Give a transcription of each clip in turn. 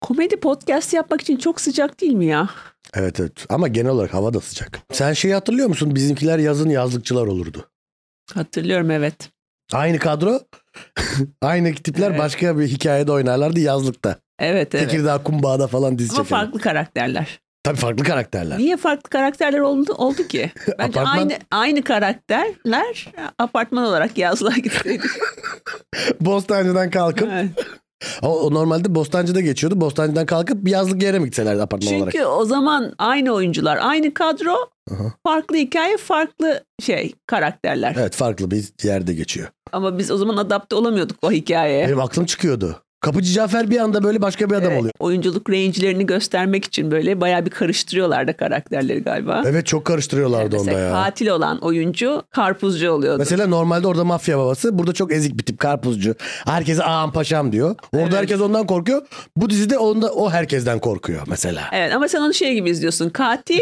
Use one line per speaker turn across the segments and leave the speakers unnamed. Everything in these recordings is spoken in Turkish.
komedi podcast yapmak için çok sıcak değil mi ya?
Evet evet ama genel olarak hava da sıcak. Sen şeyi hatırlıyor musun? Bizimkiler yazın yazlıkçılar olurdu.
Hatırlıyorum evet.
Aynı kadro, aynı tipler
Evet.
başka bir hikayede oynarlardı yazlıkta.
Evet evet.
Tekirdağ Kumbağa'da falan dizi
Ama
çekerdi.
farklı karakterler.
Tabii farklı karakterler.
Niye farklı karakterler oldu, oldu ki? Bence
Apartman-
aynı aynı karakterler apartman olarak yazlığa gitseydi.
Bostancı'dan kalkıp
Evet.
Ama o normalde Bostancı'da geçiyordu. Bostancı'dan kalkıp bir yazlık yere mi gitselerdi apartman olarak?
Çünkü o zaman aynı oyuncular, aynı kadro,
Aha.
farklı hikaye, farklı şey karakterler.
Evet farklı bir yerde geçiyor.
Ama biz o zaman adapte olamıyorduk o hikayeye.
Benim aklım çıkıyordu. Kapıcı Cafer bir anda böyle başka bir adam
Evet,
oluyor.
Oyunculuk range'lerini göstermek için böyle bayağı bir karıştırıyorlardı karakterleri galiba.
Evet çok karıştırıyorlardı onda
Mesela
ya.
katil olan oyuncu karpuzcu oluyordu.
Mesela normalde orada mafya babası. Burada çok ezik bir tip karpuzcu. Herkese ağam paşam diyor. Orada
Evet.
herkes ondan korkuyor. Bu dizide onda o herkesten korkuyor mesela.
Evet ama sen onu şey gibi izliyorsun. Katil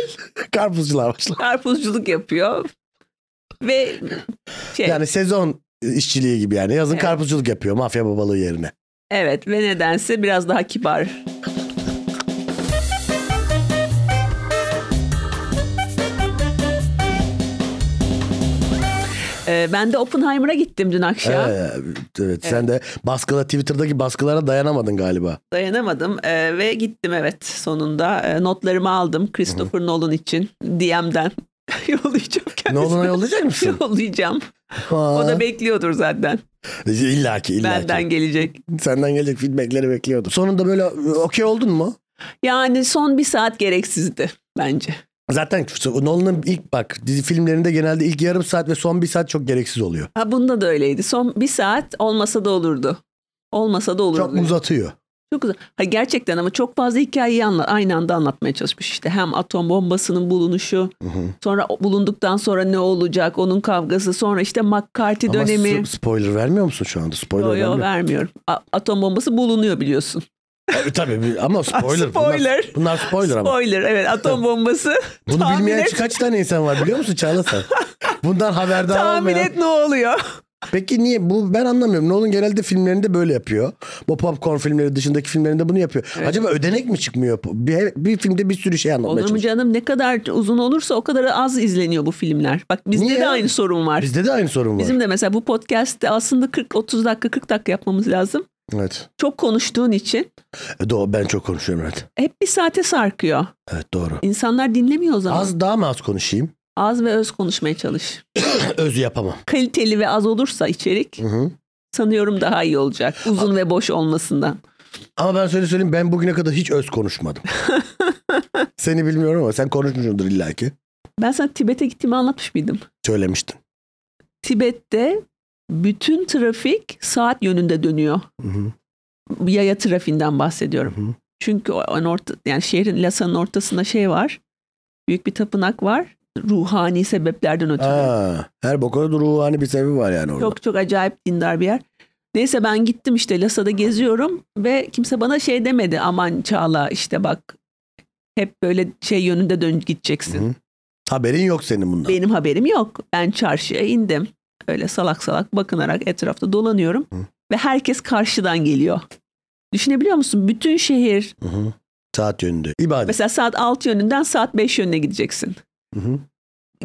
Karpuzcular başla.
karpuzculuk yapıyor ve şey
Yani sezon işçiliği gibi yani. Yazın
Evet.
karpuzculuk yapıyor mafya babalığı yerine.
evet ve nedense biraz daha kibar. Ee, ben de Oppenheimer'a gittim dün akşam.
Ee, evet. Sen de baskıla Twitter'daki baskılara dayanamadın galiba.
Dayanamadım e, ve gittim evet sonunda. E, notlarımı aldım Christopher Nolan için DM'den yollayacağım kendisine.
Nolan'a yollayacak mısın?
Yollayacağım. O da bekliyordur zaten.
İlla ki illa ki.
Benden gelecek.
Senden gelecek feedbackleri bekliyordum. Sonunda böyle e, okey oldun mu?
Yani son bir saat gereksizdi bence.
Zaten Nolan'ın ilk bak dizi filmlerinde genelde ilk yarım saat ve son bir saat çok gereksiz oluyor.
Ha bunda da öyleydi. Son bir saat olmasa da olurdu. Olmasa da olurdu.
Çok uzatıyor.
Çok uzun. Ha, gerçekten ama çok fazla hikayeyi anla, aynı anda anlatmaya çalışmış işte. Hem atom bombasının bulunuşu, sonra o- bulunduktan sonra ne olacak, onun kavgası, sonra işte McCarthy
Ama
dönemi.
s- spoiler vermiyor musun şu anda? Spoiler
Yo, yo,
vermiyor.
vermiyorum. A- atom bombası bulunuyor biliyorsun.
Tabii, tabii bir- ama spoiler.
spoiler.
Bunlar, bunlar spoiler ama.
Spoiler evet atom bombası.
Bunu
tahmin
bilmeyen
et,
kaç tane insan var biliyor musun Çağla sen? Bundan haberdar
tahmin
olmayan.
et ne oluyor?
Peki niye? Bu ben anlamıyorum. Nolan genelde filmlerinde böyle yapıyor. Bu popcorn filmleri dışındaki filmlerinde bunu yapıyor. Acaba ödenek mi çıkmıyor? Bir, bir filmde bir sürü şey anlatmaya
Olur mu
çalışıyor.
canım ne kadar uzun olursa o kadar az izleniyor bu filmler. Bak bizde
Niye?
de aynı sorun var.
Bizde de aynı sorun var.
Bizim de mesela bu podcast'te aslında 40-30 dakika 40 dakika yapmamız lazım.
Evet.
Çok konuştuğun için
E, Doğru ben çok konuşuyorum evet.
hep bir saate sarkıyor.
Evet doğru.
İnsanlar dinlemiyor o zaman. Az,
Az daha mı az konuşayım?
ve öz konuşmaya çalış.
Özü yapamam.
Kaliteli ve az olursa içerik
Hı-hı.
sanıyorum daha iyi olacak. Uzun ve boş olmasından.
Ama ben söyle söyleyeyim ben bugüne kadar hiç öz konuşmadım. Seni bilmiyorum ama sen konuşmuşsundur illaki.
Ben sana Tibet'e gittiğimi anlatmış mıydım?
Söylemiştin.
Tibet'te bütün trafik saat yönünde dönüyor.
Hı-hı.
Yaya trafiğinden bahsediyorum.
Hı-hı.
Çünkü o- onun orta, yani şehrin Lhasa'nın ortasında şey var. Büyük bir tapınak var. Ruhani sebeplerden ötürü.
Aa, her bokada da ruhani bir sebebi var yani orada.
Çok çok acayip dindar bir yer. Neyse ben gittim işte Lhasa'da geziyorum ve kimse bana şey demedi. Aman Çağla işte bak hep böyle şey yönünde dön gideceksin.
Hı. Haberin yok senin bundan.
Benim haberim yok. Ben çarşıya indim. Öyle salak salak bakınarak etrafta dolanıyorum.
Hı.
Ve herkes karşıdan geliyor. Düşünebiliyor musun? Bütün şehir
Hı-hı. Saat yönünde. İbadet.
mesela saat 6 yönünden saat 5 yönüne gideceksin.
Hı-hı.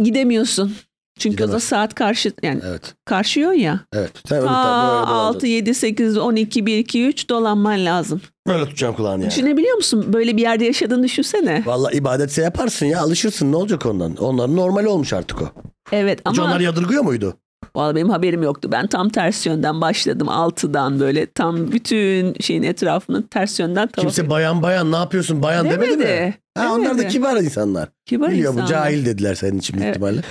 Gidemiyorsun. Çünkü o da
Gidemezsin.
saat karşı yani
Evet.
karşı yön ya.
Evet. Sen öyle,
Aa,
böyle, böyle,
6, 7, 8, 12, 1, 2, 3 dolanman lazım.
böyle tutacağım kulağını yani.
Düşünebiliyor musun? Böyle bir yerde yaşadığını düşünsene.
Vallahi ibadetse yaparsın ya alışırsın ne olacak ondan. Onların normali olmuş artık o.
Evet
Hiç
ama
onlar yadırgıyor muydu?
Vallahi benim haberim yoktu. Ben tam ters yönden başladım. 6'dan böyle tam bütün şeyin etrafını ters yönden tavaf
Kimse bayan bayan ne yapıyorsun bayan demedi, mi? Ha, onlar da
Demedi.
kibar insanlar.
Kibar
Biliyor bu
insanlar.
cahil dediler senin için büyük
Evet.
ihtimalle.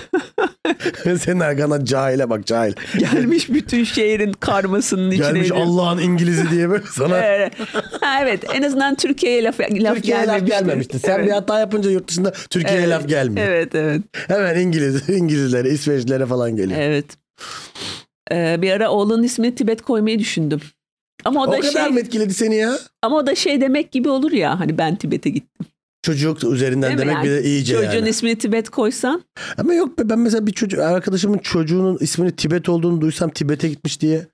Senin arkana cahile bak cahil.
Gelmiş bütün şehrin karmasının içine.
Gelmiş
ediyor.
Allah'ın İngilizi diye böyle sana
Evet. Ha, evet en azından Türkiye'ye laf, laf
Türkiye'ye laf
gelmemişti.
gelmemişti. Sen
Evet.
bir hata yapınca yurt dışında Türkiye'ye
Evet,
laf gelmiyor.
Evet evet.
Hemen İngiliz, İngilizlere, İsveçlilere falan geliyor.
evet. Ee, bir ara oğlanın ismini Tibet koymayı düşündüm. Ama o,
o
da
kadar
şey
mı etkiledi seni ya?
ama o da şey demek gibi olur ya hani ben Tibet'e gittim.
Çocuk üzerinden
Değil mi?
demek
Yani
bir de iyice
Çocuğun
yani.
ismini Tibet koysan
Ama yok be ben mesela bir çocuk arkadaşımın çocuğunun ismini Tibet olduğunu duysam Tibet'e gitmiş diye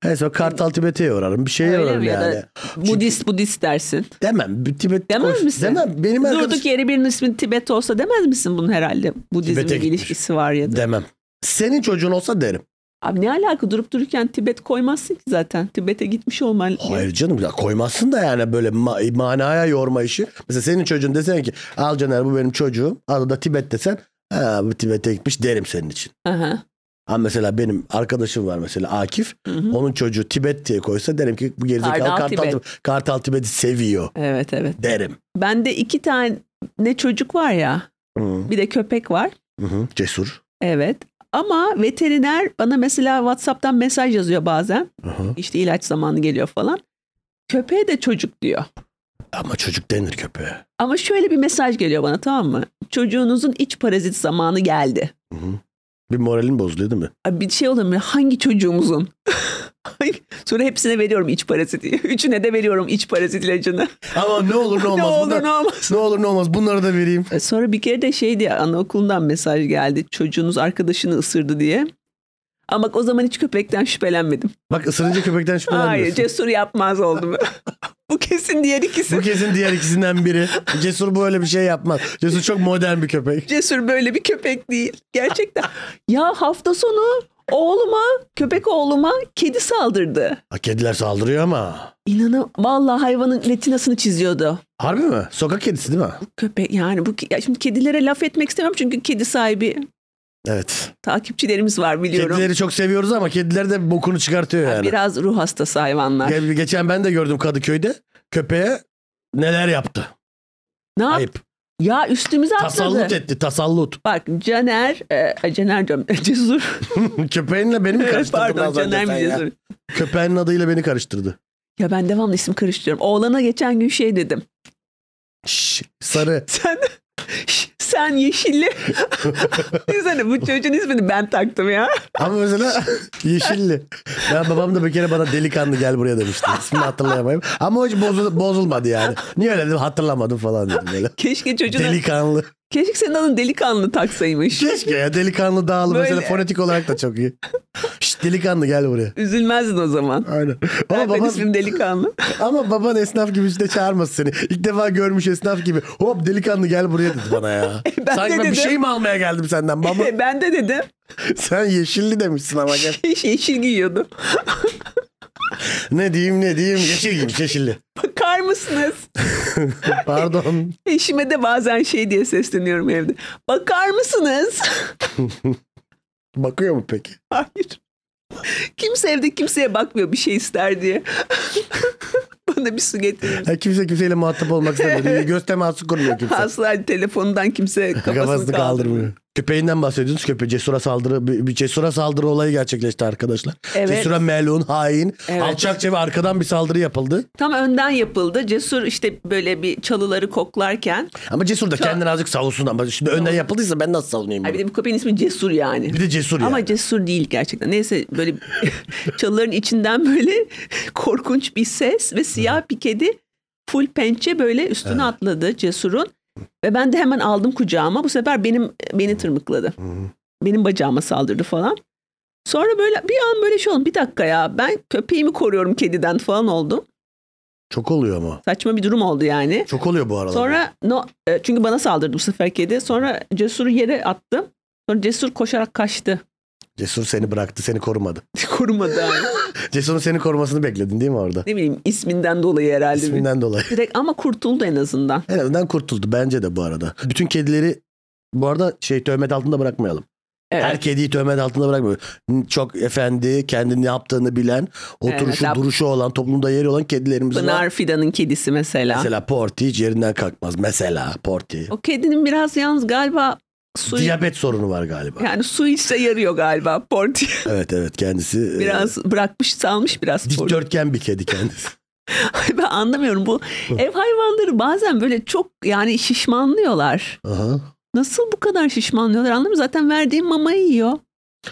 He, sonra Kartal Tibet'e uğrarım. Bir şeye
Öyle
uğrarım
mi? Ya
yani.
da Budist Budist dersin.
Demem. bir Tibet
Demez
konuş-
misin?
Demem. Benim arkadaşım.
Durduk yere birinin ismi Tibet olsa demez misin bunun herhalde? Budizmle
Tibet'e
bir
gitmiş.
ilişkisi var ya da.
Demem. Senin çocuğun olsa derim.
Abi ne alaka durup dururken Tibet koymazsın ki zaten. Tibet'e gitmiş olman.
Hayır canım ya koymazsın da yani böyle ma- manaya yorma işi. Mesela senin çocuğun desene ki al Caner bu benim çocuğum. Adı da Tibet desen. Ha, bu Tibet'e gitmiş derim senin için.
Aha.
Ama mesela benim arkadaşım var mesela Akif.
Hı hı.
Onun çocuğu Tibet diye koysa derim ki bu gerizekalı
Kartal
Kartal, Kartal,
Tibet.
Tibet'i seviyor
Evet evet.
derim.
Bende iki tane ne çocuk var ya.
Hı
Bir de köpek var.
hı. Cesur.
Evet. Ama veteriner bana mesela WhatsApp'tan mesaj yazıyor bazen.
Hı hı.
İşte ilaç zamanı geliyor falan. Köpeğe de çocuk diyor.
Ama çocuk denir köpeğe.
Ama şöyle bir mesaj geliyor bana tamam mı? Çocuğunuzun iç parazit zamanı geldi.
Hı hı. Bir moralin bozuluyor değil mi?
Ay, Bir şey olur mu? Hangi çocuğumuzun? Sonra hepsine veriyorum iç parazit. Üçüne de veriyorum iç parazit ilacını.
Ama ne olur ne
ne
olmaz.
olur
Bunlar-
ne olmaz.
ne olur ne olmaz bunları da vereyim.
E, Sonra bir kere de şey diye anaokulundan mesaj geldi. Çocuğunuz arkadaşını ısırdı diye. Ama bak o zaman hiç köpekten şüphelenmedim.
Bak ısırınca köpekten
Hayır
şüphelenmiyorsun.
cesur yapmaz oldum. Bu kesin diğer
Bu
ikisi.
kesin diğer ikisinden biri. Cesur böyle bir şey yapmaz. Cesur çok modern bir köpek.
Cesur böyle bir köpek değil. Gerçekten. ya hafta sonu oğluma, köpek oğluma kedi saldırdı.
Ha, kediler saldırıyor ama.
İnanın vallahi hayvanın retinasını çiziyordu.
Harbi mi? Sokak kedisi değil mi?
Köpek yani bu ya şimdi kedilere laf etmek istemem çünkü kedi sahibi
Evet.
takipçilerimiz var biliyorum.
Kedileri çok seviyoruz ama kediler de bokunu çıkartıyor yani.
Biraz ruh hastası hayvanlar.
Ge- Geçen ben de gördüm Kadıköy'de köpeğe neler yaptı.
ne yap?
Ayıp.
Ya üstümüze
Tasallut
atladı.
etti tasallut.
Bak Caner, e, ay, Caner diyorum Cesur.
Köpeğinle beni mi
Evet,
karıştırdın
Pardon
az önce
Caner
sen
mi
ya?
Cesur?
Köpeğin adıyla beni karıştırdı.
Ya ben devamlı isim karıştırıyorum. Oğlana geçen gün şey dedim.
Şş, sarı.
Sen sen yeşilli. Düşünsene bu çocuğun ismini ben taktım ya.
Ama mesela yeşilli. Ya babam da bir kere bana delikanlı gel buraya demişti. İsmini hatırlayamayayım. Ama o hiç bozul- bozulmadı yani. Niye öyle dedim hatırlamadım falan dedim böyle.
Keşke çocuğuna
Delikanlı.
keşke senin adın delikanlı taksaymış.
Keşke ya delikanlı dağlı mesela
Böyle.
fonetik olarak da çok iyi. Şş, delikanlı gel buraya.
Üzülmezdin o zaman.
Aynen. Ama
Ben benim
baban,
ismim delikanlı.
ama baban esnaf gibi işte çağırmasın seni. İlk defa görmüş esnaf gibi. Hop delikanlı gel buraya dedi bana ya.
Ben
Sanki
de
ben bir
dedim.
şey mi almaya geldim senden baba?
ben de dedim.
Sen yeşilli demişsin ama gel.
yeşil giyiyordu.
Ne diyeyim ne diyeyim yeşil giymiş yeşilli.
Bakar mısınız?
Pardon.
Eşime de bazen şey diye sesleniyorum evde. Bakar mısınız?
Bakıyor mu peki?
Hayır. Kimse evde kimseye bakmıyor bir şey ister diye. Bana bir su getirin.
Ha, kimse kimseyle muhatap olmak istemiyor. Göz teması kurmuyor kimse.
Asla telefondan kimse kafasını,
Kafasını
kaldırmıyor.
kaldırmıyor. Köpeğinden bahsediyorsunuz. Köpeğe cesura saldırı, bir bir cesura saldırı olayı gerçekleşti arkadaşlar.
Evet.
Cesura melun, hain,
Evet.
alçakça ve arkadan bir saldırı yapıldı.
Tam önden yapıldı. Cesur işte böyle bir çalıları koklarken.
Ama cesur da
Çok-
kendini azıcık savunsun ama şimdi önden yapıldıysa ben nasıl savunayım
Ay bir
bunu?
de bu köpeğin ismi Cesur yani.
Bir de cesur
Ama
yani.
cesur değil gerçekten. Neyse böyle çalıların içinden böyle korkunç bir ses ve siyah bir kedi full pençe böyle üstüne atladı cesurun. Ve ben de hemen aldım kucağıma. Bu sefer benim beni tırmıkladı. Benim bacağıma saldırdı falan. Sonra böyle bir an böyle şey oldu. Bir dakika ya ben köpeğimi koruyorum kediden falan oldu.
Çok oluyor ama.
Saçma bir durum oldu yani.
Çok oluyor bu arada.
Sonra no, e, çünkü bana saldırdı bu sefer kedi. Sonra cesuru yere attım. Sonra cesur koşarak kaçtı.
Cesur seni bıraktı, seni korumadı.
Korumadı. yani.
Cesur'un seni korumasını bekledin değil mi orada?
ne bileyim isminden dolayı herhalde.
İsminden dolayı.
Direkt ama kurtuldu en azından.
En azından kurtuldu bence de bu arada. Bütün kedileri bu arada şey töhmet altında bırakmayalım.
Evet.
Her kediyi töhmet altında bırakmayalım. Çok efendi, kendini ne yaptığını bilen, oturuşu,
Evet, lap-
duruşu olan, toplumda yeri olan kedilerimiz var.
Pınar Fidan'ın kedisi mesela.
Mesela Porti hiç yerinden kalkmaz. Mesela Porti.
O kedinin biraz yalnız galiba su
Diyabet sorunu var galiba.
yani su içse yarıyor galiba Porti.
Evet evet kendisi. e,
biraz bırakmış salmış biraz Porti.
Dikdörtgen bir kedi kendisi.
ben anlamıyorum bu ev hayvanları bazen böyle çok yani şişmanlıyorlar.
Aha.
Nasıl bu kadar şişmanlıyorlar anlamıyorum. Zaten verdiğin mamayı yiyor.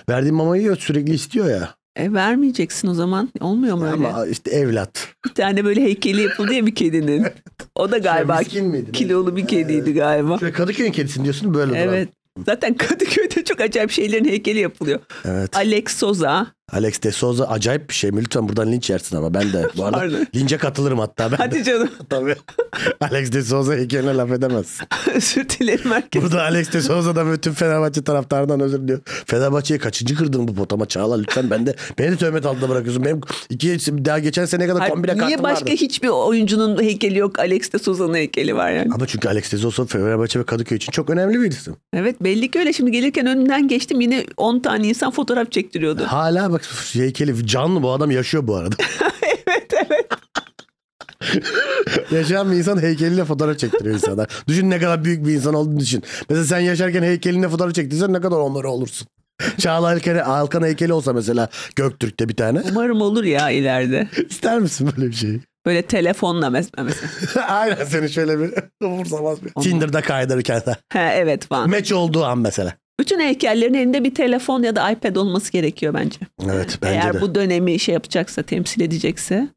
Verdiğim mamayı yiyor sürekli istiyor ya.
E vermeyeceksin o zaman. Olmuyor mu öyle?
Ama işte evlat.
Bir tane böyle heykeli yapıldı ya bir kedinin. O da galiba
Miskin miydi?
kilolu bir kediydi galiba.
Şöyle Kadıköy'ün kedisini diyorsun böyle duran.
Evet. Zaten Kadıköy'de çok acayip şeylerin heykeli yapılıyor.
Evet.
Alex Soza,
Alex de Souza acayip bir şey mi? Lütfen buradan linç yersin ama ben de bu arada
Pardon.
lince katılırım hatta. Ben de.
Hadi canım.
Tabii. Alex de Souza heykeline laf edemez.
Özür dilerim herkes.
Burada Alex de Souza'dan ve tüm Fenerbahçe taraftarından özür diliyorum. Fenerbahçe'ye kaçıncı kırdın bu potama Çağla lütfen ben de beni de töhmet altında bırakıyorsun. Benim iki daha geçen seneye kadar
Hayır,
kombine kartım
niye başka
vardı.
hiçbir oyuncunun heykeli yok? Alex de Suzan'ın heykeli var yani.
Ama çünkü Alex de Souza Fenerbahçe ve Kadıköy için çok önemli bir isim.
Evet belli ki öyle. Şimdi gelirken önümden geçtim yine 10 tane insan fotoğraf çektiriyordu.
Hala bak heykeli canlı bu adam yaşıyor bu arada.
evet evet.
Yaşayan bir insan heykeliyle fotoğraf çektiriyor insana. Düşün ne kadar büyük bir insan olduğunu düşün. Mesela sen yaşarken heykelinle fotoğraf çektirsen ne kadar onları olursun. Çağla Alkan, Alkan heykeli olsa mesela Göktürk'te bir tane.
Umarım olur ya ileride.
İster misin böyle bir şeyi?
Böyle telefonla mes- mesela.
Aynen seni şöyle bir umursamaz bir. Tinder'da kaydırırken de.
Ha, evet falan.
Meç olduğu an mesela.
Bütün heykellerin elinde bir telefon ya da iPad olması gerekiyor bence.
Evet bence
Eğer
de.
bu dönemi şey yapacaksa, temsil edecekse.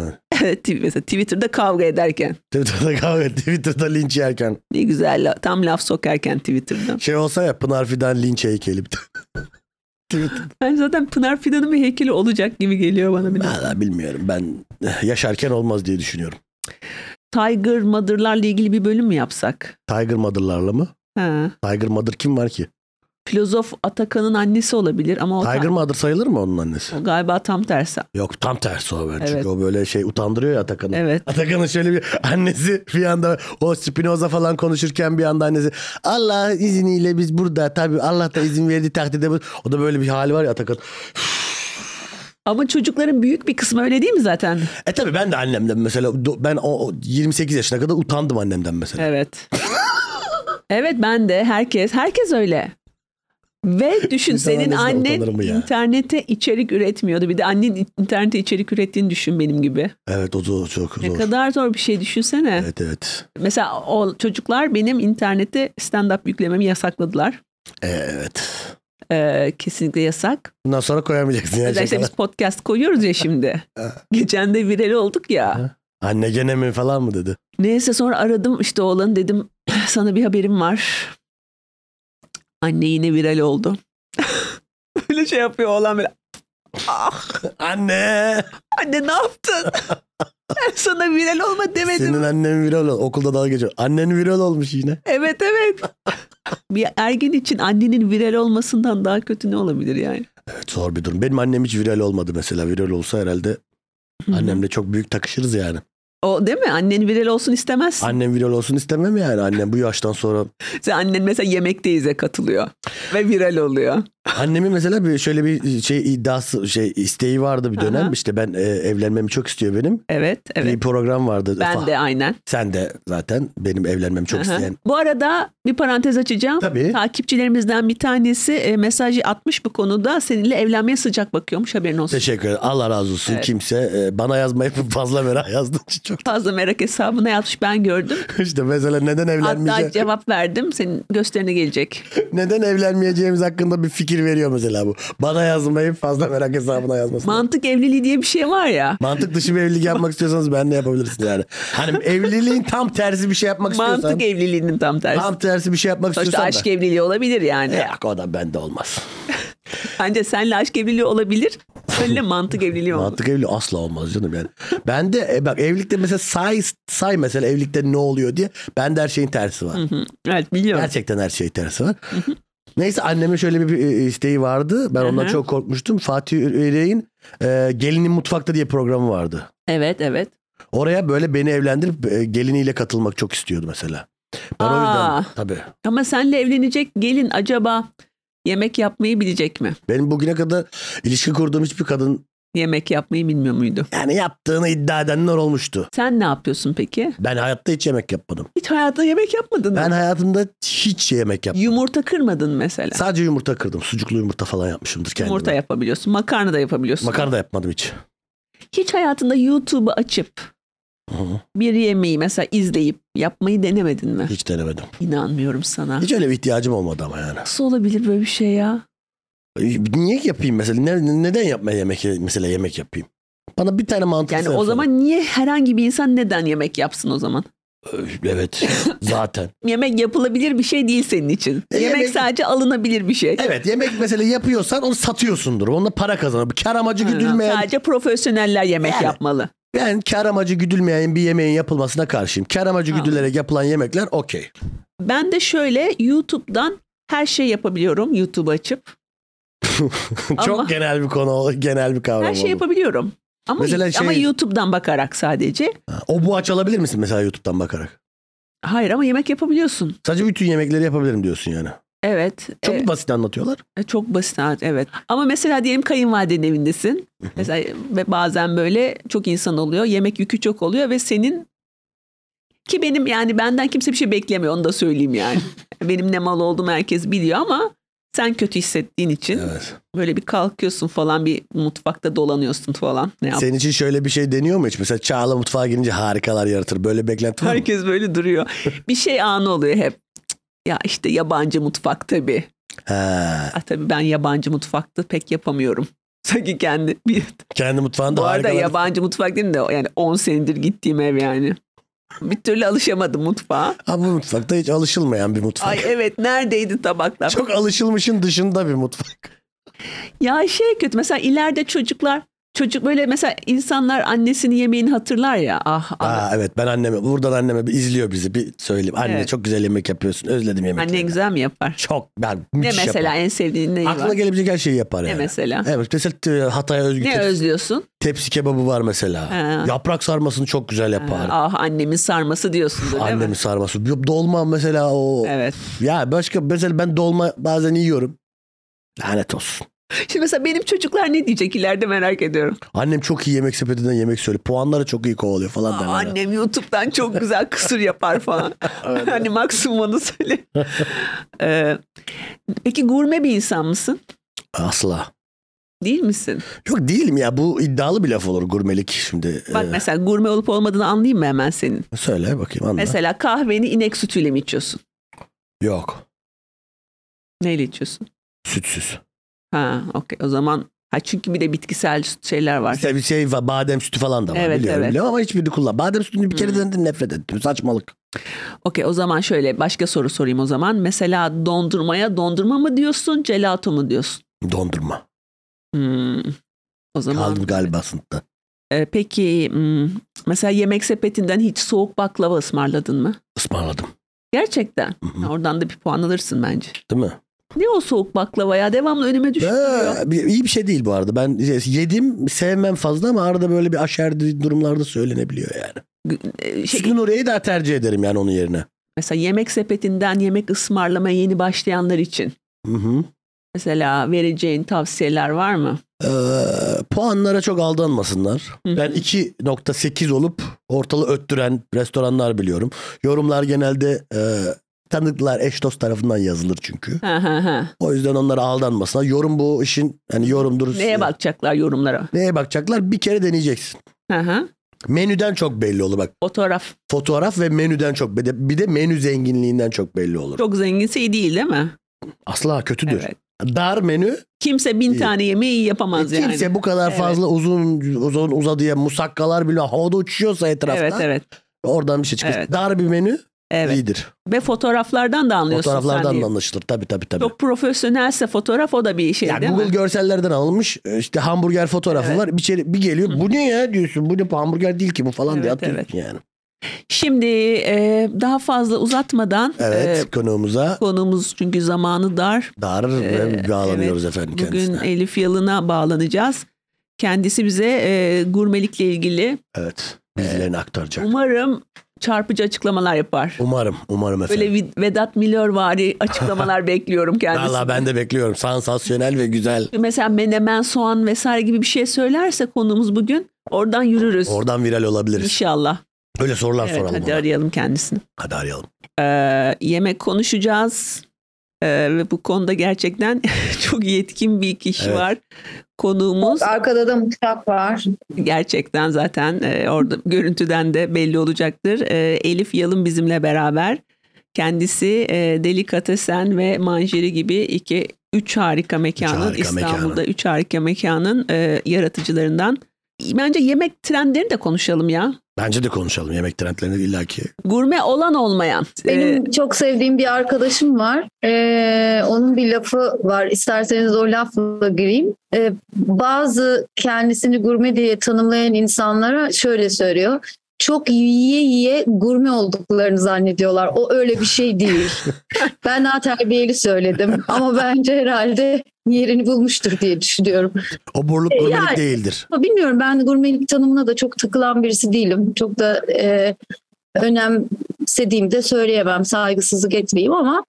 Evet.
Evet. mesela Twitter'da kavga ederken.
Twitter'da kavga Twitter'da linç yerken.
Ne güzel la- tam laf sokarken Twitter'da.
Şey olsa ya Pınar Fidan linç heykeli bir de. Twitter.
Ben zaten Pınar Fidan'ın bir heykeli olacak gibi geliyor bana. Bir de.
Valla bilmiyorum ben eh, yaşarken olmaz diye düşünüyorum.
Tiger Mother'larla ilgili bir bölüm mü yapsak?
Tiger Mother'larla mı?
Ha.
Tiger Mother kim var ki?
Filozof Atakan'ın annesi olabilir ama o,
Tiger Mother sayılır mı onun annesi?
o galiba tam tersi.
Yok tam tersi o bence.
Evet.
Çünkü o böyle şey utandırıyor ya Atakan'ı.
Evet.
Atakan'ın şöyle bir annesi bir anda o Spinoza falan konuşurken bir anda annesi Allah izniyle biz burada tabii Allah da izin verdiği takdirde bu. O da böyle bir hali var ya Atakan.
Ama çocukların büyük bir kısmı öyle değil mi zaten?
E tabii ben de annemden mesela do- ben o o 28 yaşına kadar utandım annemden mesela.
Evet. evet ben de herkes herkes öyle. Ve düşün
İnsan
senin
annesinden
annen
utanır mı ya?
internete içerik üretmiyordu. Bir de annen internete içerik ürettiğini düşün benim gibi.
Evet o zor çok
Ne
zor.
kadar zor bir şey düşünsene.
Evet evet.
Mesela o çocuklar benim internete stand-up yüklememi yasakladılar.
Evet.
Ee, kesinlikle yasak.
Bundan sonra koyamayacaksın. ya
Özellikle
şakalar.
biz podcast koyuyoruz ya şimdi. Geçen de viral olduk ya.
Anne gene mi falan mı dedi.
Neyse sonra aradım işte oğlanı dedim sana bir haberim var. Anne yine viral oldu. böyle şey yapıyor oğlan böyle. Ah
Anne.
anne ne yaptın? ben sana viral olma demedim.
Senin annen viral ol. Okulda dalga geçiyor. Annen viral olmuş yine.
Evet evet. bir ergen için annenin viral olmasından daha kötü ne olabilir yani?
Evet zor bir durum. Benim annem hiç viral olmadı mesela. Viral olsa herhalde annemle çok büyük takışırız yani.
O değil mi? Annen viral olsun istemezsin.
Annem viral olsun istemem yani. Annem bu yaştan sonra.
Sen annen mesela yemekteyize katılıyor ve viral oluyor.
Annemin mesela bir şöyle bir şey iddiası şey isteği vardı bir dönem.
Aha.
İşte ben e, evlenmemi çok istiyor benim.
Evet, evet.
Bir program vardı.
Ben
Fa-
de aynen.
Sen de zaten benim evlenmemi çok
Aha.
isteyen.
Bu arada bir parantez açacağım.
Tabii.
Takipçilerimizden bir tanesi e, mesajı atmış bu konuda. Seninle evlenmeye sıcak bakıyormuş haberin olsun.
Teşekkür ederim. Allah razı olsun.
Evet.
Kimse e, bana yazmayıp fazla merak yazdığın için çok.
Fazla merak hesabına yazmış ben gördüm.
işte mesela neden
Hatta
evlenmeyeceğim?
cevap verdim. Senin gösterine gelecek.
Neden evlenmeyeceğimiz hakkında bir fikir veriyor mesela bu. Bana yazmayıp fazla merak hesabına yazmasın.
Mantık evliliği diye bir şey var ya.
Mantık dışı bir evlilik yapmak istiyorsanız ben de yapabilirsiniz yani. Hani evliliğin tam tersi bir şey yapmak istiyorsan.
Mantık evliliğinin tam tersi.
Tam tersi bir şey yapmak
Sonuçta
istiyorsan
aşk
da.
evliliği olabilir yani.
Yok o da bende olmaz.
Bence senle aşk evliliği olabilir. Seninle mantık evliliği olmaz.
Mantık evliliği asla olmaz canım yani. Ben de e, bak evlilikte mesela say say mesela evlilikte ne oluyor diye bende her şeyin tersi var.
Hı, Evet biliyorum.
Gerçekten her şey tersi var. Neyse anneme şöyle bir, bir isteği vardı. Ben ondan
Hı hı.
çok korkmuştum. Fatih Üreğin e, Gelinin Mutfakta diye programı vardı.
Evet evet.
Oraya böyle beni evlendirip e, geliniyle katılmak çok istiyordu mesela. Ben o
Aa.
yüzden tabii.
Ama senle evlenecek gelin acaba yemek yapmayı bilecek mi?
Benim bugüne kadar ilişki kurduğum hiçbir kadın
Yemek yapmayı bilmiyor muydu?
yani yaptığını iddia edenler olmuştu.
Sen ne yapıyorsun peki?
Ben hayatta hiç yemek yapmadım.
Hiç hayatında yemek yapmadın mı?
Ben hayatımda hiç yemek yapmadım.
Yumurta kırmadın mesela.
Sadece yumurta kırdım. Sucuklu yumurta falan yapmışımdır kendime.
Yumurta yapabiliyorsun, makarna da yapabiliyorsun.
Makarna da yapmadım hiç.
Hiç hayatında YouTube'u açıp
Hı,
bir yemeği mesela izleyip yapmayı denemedin mi?
Hiç denemedim.
İnanmıyorum sana.
Hiç öyle bir ihtiyacım olmadı ama yani.
Nasıl olabilir böyle bir şey ya?
E, Niye yapayım mesela? Ne- neden yapmaya yemek mesela yemek yapayım? Bana bir tane mantık
Yani
söyle.
o zaman niye herhangi bir insan neden yemek yapsın o zaman?
Evet. Zaten.
Yemek yapılabilir bir şey değil senin için.
E,
yemek,
yemek-
sadece alınabilir bir şey.
Evet yemek mesela yapıyorsan onu satıyorsundur. Onunla para kazanır. Kar amacı
Aynen.
güdülmeyen
Sadece profesyoneller yemek
Yani.
yapmalı.
Ben kar amacı güdülmeyen bir yemeğin yapılmasına karşıyım. Kar amacı
Tamam.
güdülerek yapılan yemekler okey.
Ben de şöyle YouTube'dan her şey yapabiliyorum YouTube açıp. Ama-
Çok genel bir konu, genel bir kavram
Her şey
oldu.
yapabiliyorum. Ama,
Mesela şey-
ama YouTube'dan bakarak sadece.
Ha, O bu aç alabilir misin mesela YouTube'dan bakarak?
Hayır ama yemek yapabiliyorsun.
Sadece bütün yemekleri yapabilirim diyorsun yani.
Evet.
Çok
e,
basit anlatıyorlar.
E, Çok basit hayat, evet. Ama mesela diyelim kayınvalidenin evindesin. Mesela e, ve bazen böyle çok insan oluyor. Yemek yükü çok oluyor ve senin ki benim yani benden kimse bir şey beklemiyor onu da söyleyeyim yani. benim ne mal olduğumu herkes biliyor ama sen kötü hissettiğin için
Evet.
böyle bir kalkıyorsun falan bir mutfakta dolanıyorsun falan. Ne yap?
Senin için şöyle bir şey deniyor mu hiç? Mesela Çağla mutfağa girince harikalar yaratır. Böyle beklenti var mı?
Herkes böyle duruyor. bir şey anı oluyor hep. Cık, Ya işte yabancı mutfak tabii.
Ha.
Ah, tabii ben yabancı mutfakta pek yapamıyorum. Sanki kendi bir
Kendi mutfağında
Bu arada
harikalar.
yabancı mutfak değil de yani 10 senedir gittiğim ev yani. Bir türlü alışamadım mutfağa.
Ha, bu mutfakta hiç alışılmayan bir mutfak.
Ay evet neredeydi tabaklar?
Çok alışılmışın dışında bir mutfak.
Ya şey kötü mesela ileride çocuklar çocuk böyle mesela insanlar annesinin yemeğini hatırlar ya. Ah, ah
Aa, evet ben anneme buradan anneme bir izliyor bizi bir söyleyeyim. Anne
Evet.
çok güzel yemek yapıyorsun. Özledim yemekleri.
annen güzel mi yapar?
Çok ben
Ne
müthiş
mesela
yaparım.
en sevdiğin neyi
Aklına
var?
gelebilecek her şeyi yapar
Ne
yani.
mesela?
Evet mesela t- Hatay'a özgü
Ne
tepsi,
özlüyorsun?
tepsi kebabı var mesela.
Ha.
Yaprak sarmasını çok güzel yapar.
Ah annemin sarması diyorsun değil
Annemin
mi?
sarması. Bir Dolma mesela o.
Evet.
Ya başka mesela ben dolma bazen yiyorum. Lanet olsun.
Şimdi mesela benim çocuklar ne diyecek ileride merak ediyorum.
Annem çok iyi yemek sepetinden yemek söylüyor. Puanları çok iyi kovalıyor falan
Aa,
derler.
annem YouTube'dan çok güzel kısır yapar falan. hani maksimum onu söyle. Ee, peki gurme bir insan mısın?
Asla.
Değil misin?
Yok değilim ya bu iddialı bir laf olur gurmelik şimdi.
Bak
Ee,
mesela gurme olup olmadığını anlayayım mı hemen senin?
söyle bakayım anla.
Mesela kahveni inek sütüyle mi içiyorsun?
Yok
Neyle içiyorsun?
sütsüz.
Ha, okey. O zaman ha çünkü bir de bitkisel süt şeyler var.
İşte bir şey var, badem sütü falan da var
Evet,
biliyorum,
evet. Hmm.
biliyorum ama hiçbirini kullan. Badem sütünü bir kere denedim nefret ettim saçmalık.
Okey o zaman şöyle başka soru sorayım o zaman. Mesela dondurmaya dondurma mı diyorsun, gelato mu diyorsun?
Dondurma.
Hmm. O zaman
Kaldım galiba sınıfta.
Ee, peki hmm, mesela yemek sepetinden hiç soğuk baklava ısmarladın mı?
Ismarladım.
Gerçekten.
Hı hı.
Ha, Oradan da bir puan alırsın bence.
Değil mi?
Ne o soğuk baklava ya? Devamlı önüme düşüyor.
Ee, bir- iyi bir şey değil bu arada. Ben yedim sevmem fazla ama arada böyle bir aşerdi durumlarda söylenebiliyor yani.
Şey,
Sütlü Nuriye'yi daha tercih ederim yani onun yerine.
mesela yemek sepetinden yemek ısmarlamaya yeni başlayanlar için.
Hı hı.
Mesela vereceğin tavsiyeler var mı?
Ee, puanlara çok aldanmasınlar.
Hı hı.
Ben 2.8 olup ortalığı öttüren restoranlar biliyorum. Yorumlar genelde e, tanıklar eş dost tarafından yazılır çünkü.
Ha, ha, ha.
O yüzden onlara aldanmasınlar. Yorum bu işin hani yorumdur.
Neye bakacaklar yorumlara?
Neye bakacaklar? Bir kere deneyeceksin.
Ha, ha.
Menüden çok belli olur bak.
Fotoğraf
Fotoğraf ve menüden çok bir de, bir de menü zenginliğinden çok belli olur.
çok zenginse iyi değil değil mi?
Asla kötüdür.
Evet.
Dar menü
Kimse bin
İyi.
tane yemeği iyi yapamaz yani.
Ee, kimse bu kadar
Evet.
fazla uzun uzun uzadıya musakkalar bile havada uçuşuyorsa etrafta
Evet evet.
oradan bir şey çıkar.
Evet.
Dar bir menü
Evet.
iyidir.
Ve fotoğraflardan da anlıyorsun. sen
Fotoğraflardan
değil.
da anlaşılır tabii tabii tabii.
Çok profesyonelse fotoğraf o da bir şey
ya
değil
Google
mi?
görsellerden alınmış e, işte hamburger fotoğrafı
Evet.
var bir, içeri, bir geliyor bu ne ya diyorsun bu ne bu hamburger değil ki bu falan diye
Evet,
atıyorsun yani.
Şimdi e, daha fazla uzatmadan
Evet
e,
konuğumuza
konumuz çünkü zamanı dar.
dar
Ee,
ve bağlanıyoruz efendim
Bugün
kendisine.
Elif Yalın'a bağlanacağız. Kendisi bize e, gurmelikle ilgili
evet
e,
bilgilerini aktaracak.
um- umarım çarpıcı açıklamalar yapar.
Umarım umarım efendim.
Böyle Vid- Vedat Milorvari açıklamalar bekliyorum kendisi.
Valla ben de bekliyorum. Sansasyonel ve güzel.
Mesela menemen, soğan vesaire gibi bir şey söylerse konumuz bugün oradan yürürüz
Oradan viral olabiliriz.
inşallah.
Öyle sorular
Evet,
soralım.
hadi
ona.
arayalım kendisini.
hadi arayalım.
Ee, yemek konuşacağız Ee, ve bu konuda gerçekten çok yetkin bir kişi
Evet.
var. Konuğumuz
Arkada da mutfak var.
gerçekten zaten e, orada görüntüden de belli olacaktır. Ee, Elif Yalın bizimle beraber. Kendisi e, Delikatesen ve Manjeri gibi iki üç harika mekanın
harika
İstanbul'da
mekanın.
üç harika mekanın e, yaratıcılarından Bence yemek trendlerini de konuşalım ya.
Bence de konuşalım yemek trendlerini illaki.
Gurme olan olmayan. Ee,
Benim çok sevdiğim bir arkadaşım var. Ee, onun bir lafı var. İsterseniz o lafla gireyim. Ee, bazı kendisini gurme diye tanımlayan insanlara şöyle söylüyor. Çok yiye yiye gurme olduklarını zannediyorlar. O öyle bir şey değil. ben daha terbiyeli söyledim ama bence herhalde yerini bulmuştur diye düşünüyorum.
O
E,
burluk gurmelik
Yani.
değildir.
Ama bilmiyorum ben gurmelik tanımına da çok takılan birisi değilim. Çok da e, önemsediğimi de söyleyemem. Saygısızlık etmeyeyim ama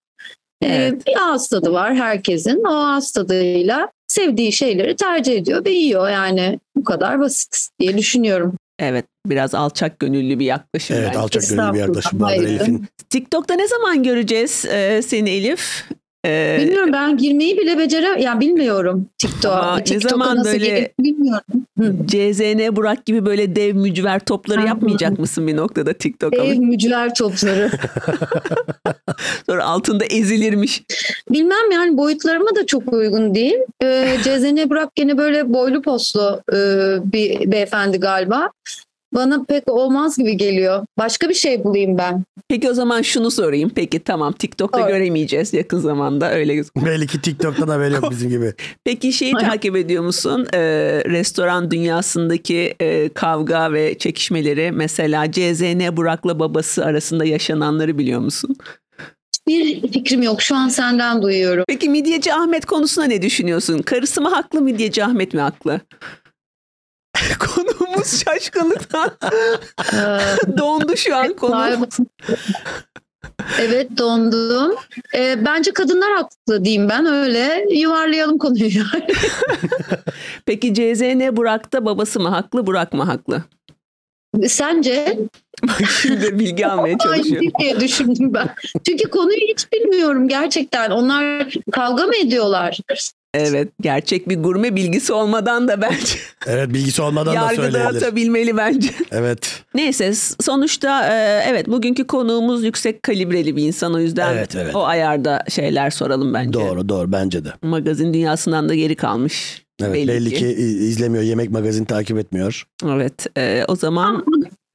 e,
Evet.
bir ağız tadı var herkesin. O ağız tadıyla sevdiği şeyleri tercih ediyor ve yiyor. Yani bu kadar basit diye düşünüyorum.
evet biraz alçak gönüllü bir yaklaşım.
Evet
bence.
alçak gönüllü bir yaklaşım
Estağfurullah,
vardır
hayır.
Elif'in.
TikTok'ta ne zaman göreceğiz e, seni Elif? Ee,
Bilmiyorum ben girmeyi bile becerem. Yani bilmiyorum
Ama
TikTok'a.
ne
TikTok'a
zaman
nasıl
böyle-
gelir bilmiyorum.
CZN Burak gibi böyle dev mücver topları
Ha.
yapmayacak mısın bir noktada TikTok'a?
Ev mücver topları.
Sonra altında ezilirmiş.
Bilmem yani boyutlarıma da çok uygun değil. Ee, Cezene Burak gene böyle boylu poslu e, bir beyefendi galiba. Bana pek olmaz gibi geliyor. Başka bir şey bulayım ben.
Peki o zaman şunu sorayım. Peki tamam TikTok'ta
Sor.
göremeyeceğiz yakın zamanda öyle gözüküyor.
Belki TikTok'tan haberi yok bizim gibi.
Peki şeyi takip ediyor musun? Ee, restoran dünyasındaki e, kavga ve çekişmeleri mesela CZN Burak'la babası arasında yaşananları biliyor musun?
Bir fikrim yok. Şu an senden duyuyorum.
Peki midyeci Ahmet konusuna ne düşünüyorsun? Karısı mı haklı midyeci Ahmet mi haklı? Konuğumuz şaşkınlıktan
Ee,
dondu şu an konu.
galiba- evet dondum. Ee, bence kadınlar haklı diyeyim ben. Öyle yuvarlayalım konuyu yani.
Peki CZN Burak'ta babası mı haklı Burak mı haklı?
Sence?
Bak şimdi bilgi almaya çalışıyorum.
Aynı diye düşündüm ben. Çünkü konuyu hiç bilmiyorum gerçekten. Onlar kavga mı ediyorlar?
Evet gerçek bir gurme bilgisi olmadan da bence
Evet bilgisi olmadan da
yargıda
söyleyebilir.
atabilmeli bence.
Evet.
Neyse s- sonuçta e, evet bugünkü konuğumuz yüksek kalibreli bir insan o yüzden
Evet, evet.
o ayarda şeyler soralım bence.
Doğru doğru bence de.
Magazin dünyasından da geri kalmış.
Evet, belli, ki. i- izlemiyor yemek magazin takip etmiyor.
Evet e, o zaman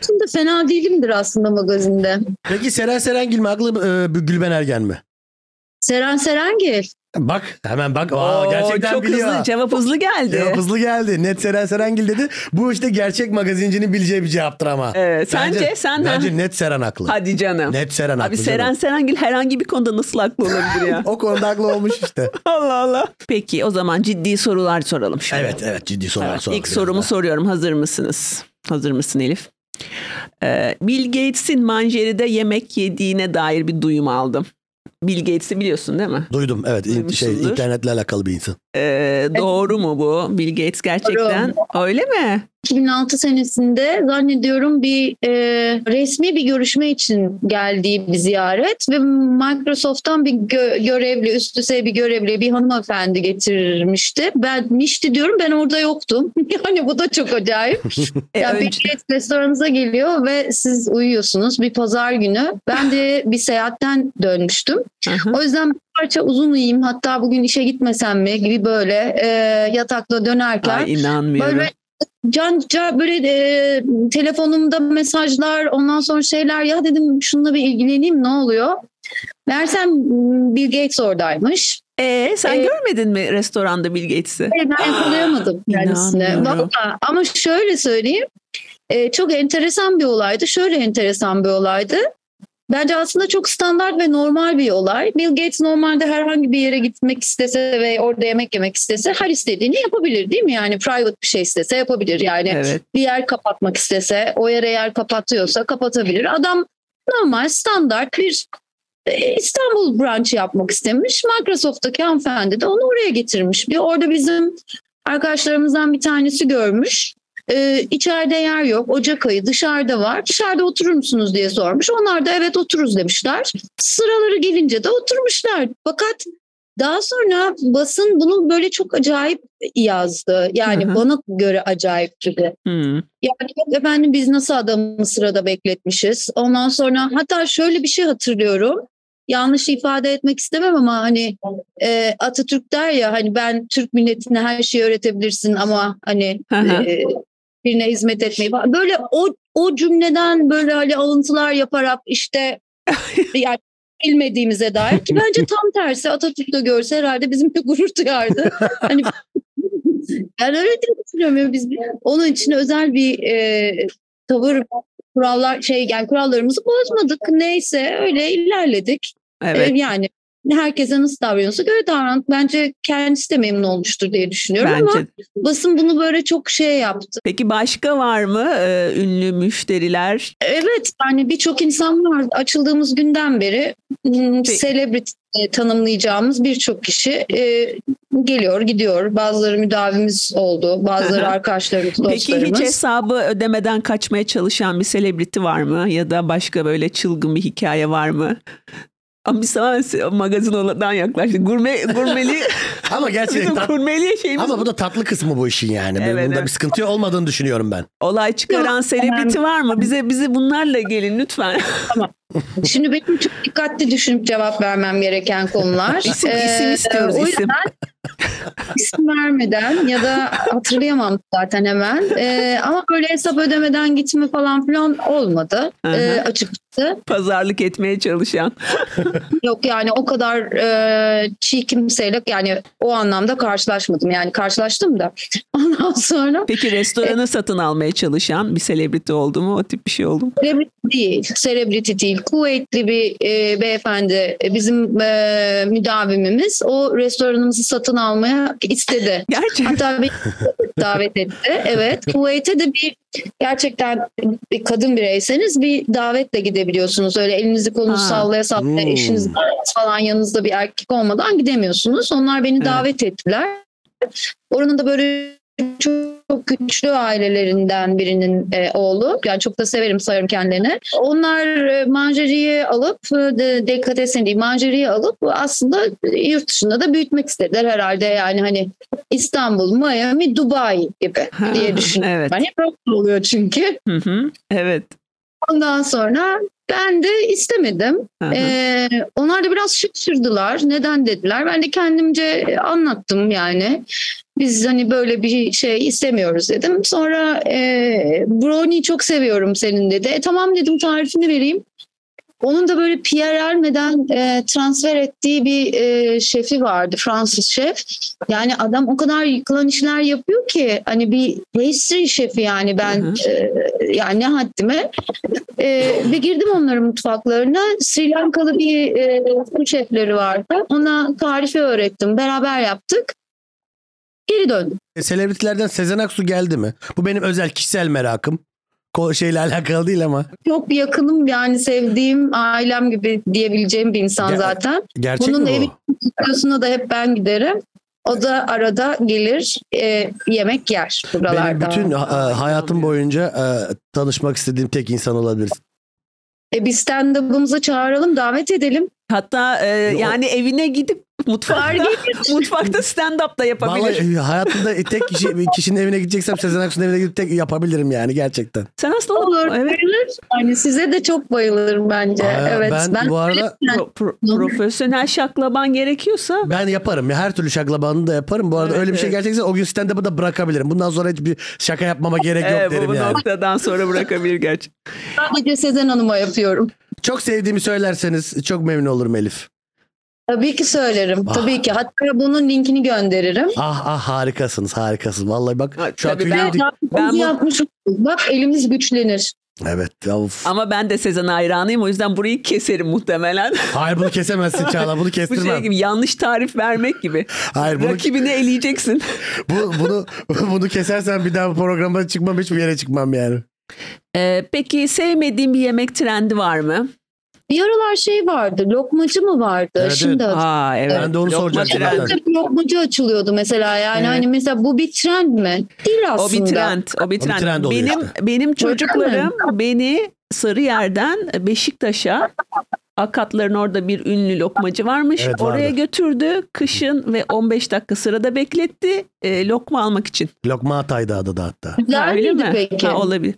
Şimdi de fena değilimdir aslında magazinde.
Peki Seren Serengil mi haklı e, Gülben Ergen mi?
Seren Serengil.
Bak hemen bak. Aa,
Oo,
gerçekten
çok
biliyor.
hızlı cevap hızlı geldi.
Cevap hızlı geldi. Net Seren Serengil dedi. Bu işte gerçek magazincinin bileceği bir cevaptır ama.
Evet, E, sence
Bence-
sen de-
Bence net Seren haklı.
Hadi canım.
Net Seren haklı.
Abi Seren
canım.
Serengil herhangi bir konuda nasıl haklı olabilir ya?
O konuda haklı olmuş işte.
Allah Allah. Peki o zaman ciddi sorular soralım şimdi.
Evet evet ciddi sorular
Evet,
soralım
ilk
biraz
sorumu
da.
soruyorum. Hazır mısınız? Hazır mısın Elif? Ee, Bill Gates'in manjeride yemek yediğine dair bir duyum aldım. Bill Gates'i biliyorsun değil mi?
Duydum evet in- şey
Duymuşsundur.
internetle alakalı bir insan.
Ee, doğru mu bu? Bill Gates gerçekten öyle mi?
2006 senesinde zannediyorum bir e, resmi bir görüşme için geldiği bir ziyaret ve Microsoft'tan bir gö- görevli, üst düzey bir görevli bir hanımefendi getirmişti. Ben mişti diyorum ben orada yoktum. yani bu da çok acayip.
E,
Yani
önce-
bir Gates restoranınıza geliyor ve siz uyuyorsunuz bir pazar günü. Ben de bir seyahatten dönmüştüm.
Hı hı.
O yüzden bir parça uzun uyuyayım hatta bugün işe gitmesem mi gibi böyle e, yatakta dönerken
Ay, inanmıyorum.
böyle can, can- böyle e, telefonumda mesajlar ondan sonra şeyler ya dedim şununla bir ilgileneyim ne oluyor? Meğersem m, Bill Gates oradaymış.
Ee, sen
Ee,
görmedin mi restoranda Bill Gates'i?
Ve Ben yakalayamadım kendisini.
İnanmıyorum.
Valla. Ama şöyle söyleyeyim. e, çok enteresan bir olaydı. Şöyle enteresan bir olaydı. Bence aslında çok standart ve normal bir olay. Bill Gates normalde herhangi bir yere gitmek istese ve orada yemek yemek istese her istediğini yapabilir değil mi? Yani private bir şey istese yapabilir. Yani
Evet.
bir yer kapatmak istese o yere yer kapatıyorsa kapatabilir. Adam normal standart bir e, İstanbul branch yapmak istemiş. Microsoft'taki hanımefendi de onu oraya getirmiş. Bir orada bizim arkadaşlarımızdan bir tanesi görmüş. E, içeride yer yok. Ocak ayı dışarıda var. Dışarıda oturur musunuz diye sormuş. Onlar da evet otururuz demişler. Sıraları gelince de oturmuşlar. Fakat daha sonra basın bunu böyle çok acayip yazdı. Yani
Hı hı.
bana göre acayip gibi.
Hmm.
Yani yok efendim biz nasıl adamı sırada bekletmişiz. Ondan sonra hatta şöyle bir şey hatırlıyorum. Yanlış ifade etmek istemem ama hani e, Atatürk der ya hani ben Türk milletine her şeyi öğretebilirsin ama hani
Hı hı.
e, birine hizmet etmeyi falan. Böyle o, o cümleden böyle hani alıntılar yaparak işte yani bilmediğimize dair ki bence tam tersi Atatürk de görse herhalde bizim de gurur duyardı. Hani yani öyle diye düşünüyorum. Yani biz onun için özel bir e, tavır kurallar şey yani kurallarımızı bozmadık. Neyse öyle ilerledik.
Evet.
E, yani herkese nasıl davranıyorsa göre davran. Bence kendisi de memnun olmuştur diye düşünüyorum ama
Bence.
basın bunu böyle çok şey yaptı.
Peki başka var mı e, ünlü müşteriler?
Evet yani birçok insan var. Açıldığımız günden beri m,
Peki.
celebrity e, tanımlayacağımız birçok kişi e, geliyor gidiyor. Bazıları müdavimiz oldu. Bazıları
Aha.
arkadaşlarımız,
Peki
dostlarımız.
hiç hesabı ödemeden kaçmaya çalışan bir selebriti var mı? Ya da başka böyle çılgın bir hikaye var mı? Ama biz sana magazin oladan yaklaştık. Gurme, gurmeli,
Ama
bizim
gerçekten
gurmeli şeyimiz.
ama bu da tatlı kısmı bu işin yani. Benim
Evet,
Bunda
evet.
bir sıkıntı olmadığını düşünüyorum ben.
Olay çıkaran selebriti var mı? Bize bize bunlarla gelin lütfen.
Şimdi benim çok dikkatli düşünüp cevap vermem gereken konular. E,
İsim- isim istiyoruz,
Ee, o
isim.
yüzden isim vermeden ya da hatırlayamam zaten hemen. Ee, ama böyle hesap ödemeden gitme falan filan olmadı
Hı hı.
Ee, açıkçası.
Pazarlık etmeye çalışan.
Yok yani o kadar e, çiğ kimseyle yani o anlamda karşılaşmadım. Yani karşılaştım da ondan sonra
Peki restoranı satın almaya çalışan bir selebriti oldu mu? O tip bir şey oldu mu?
Celebrity değil, celebrity değil. Kuvvetli bir e, beyefendi e, bizim e, müdavimimiz o restoranımızı satın almaya istedi.
Gerçekten.
Hatta beni davet etti. Evet. Kuveyt'e de bir gerçekten bir kadın bireyseniz bir davetle gidebiliyorsunuz. Öyle elinizi kolunuzu
Ha.
sallaya sallaya
Hmm.
eşiniz falan yanınızda bir erkek olmadan gidemiyorsunuz. Onlar beni davet ettiler. Oranın da böyle çok, çok güçlü ailelerinden birinin e, oğlu. Yani çok da severim sayarım kendilerini. Onlar e, manjeriyi alıp e, de, dekatesin değil manjeriyi alıp aslında yurt dışında da büyütmek istediler herhalde. Yani hani İstanbul, Miami, Dubai gibi
Ha,
diye düşünüyorum.
evet.
Hani böyle oluyor çünkü.
Hı hı. Evet.
Ondan sonra ben de istemedim.
Hı hı.
Ee, onlar da biraz şaşırdılar. Neden dediler. Ben de kendimce anlattım yani. Biz hani böyle bir şey istemiyoruz dedim. Sonra e, brownie çok seviyorum senin dedi. E, tamam dedim tarifini vereyim. Onun da böyle Pierre Hermes'den e, transfer ettiği bir e, şefi vardı. Fransız şef. Yani adam o kadar yıkılan işler yapıyor ki hani bir pastry şefi yani ben
Hı
e, yani ne haddime. E, ve girdim onların mutfaklarına. Sri Lankalı bir e, fırın şefleri vardı. Ona tarifi öğrettim. Beraber yaptık. Geri döndüm.
E, selebritilerden Sezen Aksu geldi mi? Bu benim özel kişisel merakım. Ko şeyle alakalı değil ama.
Çok bir yakınım yani sevdiğim ailem gibi diyebileceğim bir insan
Ya-
zaten.
Gerçek
Bunun
mi bu?
evi- Kursuna da hep ben giderim. O da arada gelir e, yemek yer
Benim
buralarda.
bütün ha- e, hayatım boyunca e, tanışmak istediğim tek insan olabilirsin.
E, biz stand-up'ımıza çağıralım, davet edelim.
Hatta e,
Yo.
yani evine gidip mutfakta mutfakta stand up da yapabilir.
Vallahi e, hayatımda e, tek kişi bir kişinin evine gideceksem Sezen Aksu'nun evine gidip tek yapabilirim yani gerçekten.
Sen aslında
Olur,
evet.
bayılır. Yani size de çok bayılırım bence.
Aa,
evet.
ben,
ben
bu arada
pro- pro- profesyonel şaklaban gerekiyorsa
ben yaparım. ya Her türlü şaklabanını da yaparım. Bu arada
Evet,
öyle bir şey
evet.
gelecekse o gün stand-up'ı da bırakabilirim. Bundan sonra hiçbir şaka yapmama gerek yok
e, bu,
derim
bu
yani.
noktadan sonra bırakabilir gerçi.
sadece Sezen Hanım'a yapıyorum.
Çok sevdiğimi söylerseniz çok memnun olurum Elif.
Tabii ki söylerim.
Ah.
Tabii ki. Hatta bunun linkini gönderirim.
Ah ah harikasınız harikasınız. Vallahi bak
Ha,
şu an
tabii
tüylerim
ben-
dik-
Ben
Ben
bu-
yapmış olduk. Bak elimiz güçlenir.
Evet. ya Of.
Ama ben de Sezen hayranıyım o yüzden burayı keserim muhtemelen.
Hayır bunu kesemezsin Çağla bunu
bu şey
kestirmem.
gibi yanlış tarif vermek gibi.
Hayır bunu,
Rakibini eleyeceksin.
bu, bunu, bunu kesersen bir daha bu programa çıkmam hiçbir yere çıkmam yani.
E, peki sevmediğin bir yemek trendi var mı?
Bir aralar şey vardı. Lokmacı mı vardı?
Evet,
Şimdi
evet.
Aa evet.
Ben de onu
Lokma
soracaktım
trendi.
zaten.
Hep lokmacı açılıyordu mesela. Yani
Evet.
hani mesela bu bir trend mi? Değil
O
aslında.
bir trend. O bir
O bir
trend.
trend oluyor
benim benim çocuklarım beni Sarıyer'den Beşiktaş'a Akatların orada bir ünlü lokmacı varmış.
Evet, vardı.
Oraya götürdü kışın ve 15 dakika sırada bekletti e, lokma almak için.
Lokma Hatay'da adı da hatta.
Güzel
Ha,
miydi peki?
Ha, olabilir.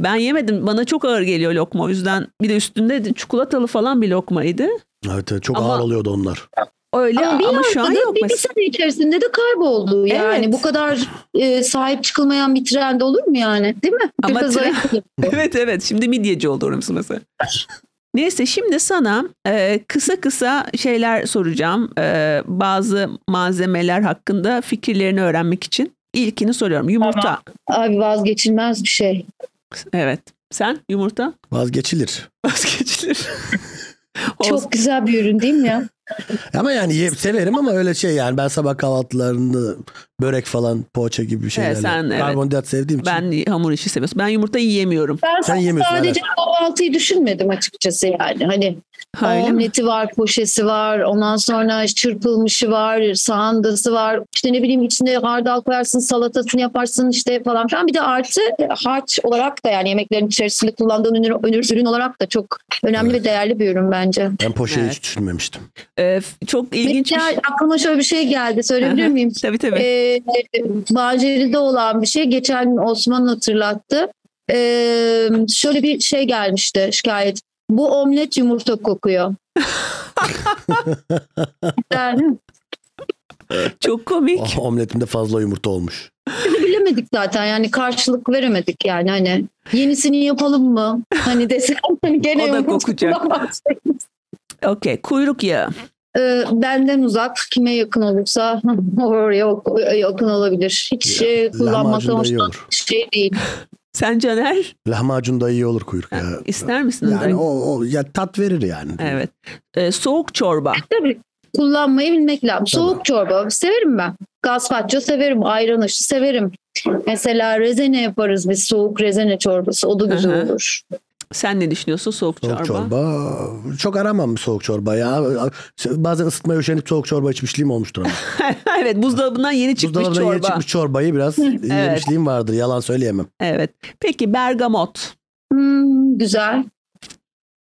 Ben yemedim. Bana çok ağır geliyor lokma. O yüzden bir de üstünde de çikolatalı falan bir lokmaydı.
Evet, evet, çok
Ama-
ağır oluyordu onlar.
Öyle
Ama
ama,
bir
şu an
noktada
yok
bir, bir
mesela.
sene içerisinde de kayboldu. Yani
Evet.
bu kadar e, sahip çıkılmayan bir trend olur mu yani? Değil mi?
Ama
Biraz
tren-
ayıp oluyor.
evet evet şimdi midyeci oldu orası mesela. Neyse şimdi sana e, kısa kısa şeyler soracağım. E, bazı malzemeler hakkında fikirlerini öğrenmek için. İlkini soruyorum. Yumurta.
Abi vazgeçilmez bir şey.
Evet. Sen yumurta
Vazgeçilir.
vazgeçilir. Olsun.
Çok güzel bir ürün değil mi ya?
Ama yani ye- severim ama öyle şey yani ben sabah kahvaltılarında börek falan poğaça gibi bir şeylerle.
sen evet.
Karbonhidrat sevdiğim için.
Ben hamur işi seviyorsun. Ben yumurta yiyemiyorum.
Ben
Sen yemiyorsun
sadece kahvaltıyı düşünmedim açıkçası yani. Hani
Ha, öyle mi?
omleti var, poşesi var, ondan sonra çırpılmışı var, sağandası var. İşte ne bileyim içinde hardal koyarsın, salatasını yaparsın işte falan filan. Bir de artı e, harç olarak da yani yemeklerin içerisinde kullandığın ürün, ürün- ürün olarak da çok önemli
Evet.
ve değerli bir ürün bence.
Ben poşeyi
Evet.
hiç düşünmemiştim.
E, f- çok ilginç bir
Mesela
şey.
aklıma şöyle bir şey geldi söyleyebilir
Aha.
miyim?
Tabii tabii.
Ee, Bahçeli'de olan bir şey. Geçen gün Osman hatırlattı. Ee, şöyle bir şey gelmişti şikayet. Bu omlet yumurta kokuyor. yani
çok komik.
Oh, omletimde fazla yumurta olmuş.
bunu bilemedik zaten yani karşılık veremedik yani hani yenisini yapalım mı? Hani desem hani gene
O da
yumurta
kokacak.
bulamazsın.
Oh.
Okey. Kuyruk yağı.
Ee, benden uzak kime yakın olursa oraya yakın olabilir. Hiç
Ya,
e, kullanmaktan
lahmacun da iyi
hoşlanan
olur.
bir şey değil.
Sen Caner
Lahmacun da iyi olur kuyruk
ha,
ya.
ister misin?
Yani o, o ya tat verir yani.
Evet. E, soğuk çorba.
Tabii kullanmayı bilmek lazım. Soğuk çorba severim ben. Gazpacho severim, ayran aşı severim. Mesela rezene yaparız biz soğuk rezene çorbası. O da güzel
Hı hı.
olur.
Sen ne düşünüyorsun soğuk, çorba?
Soğuk çorba. Çok aramam soğuk çorba ya. Bazen ısıtmaya üşenip soğuk çorba içmişliğim olmuştur ama.
evet buzdolabından yeni çıkmış
Buzdolabına
çorba.
yeni çıkmış çorbayı biraz yemişliğim vardır. Yalan söyleyemem.
Evet. Peki bergamot.
Hmm, güzel.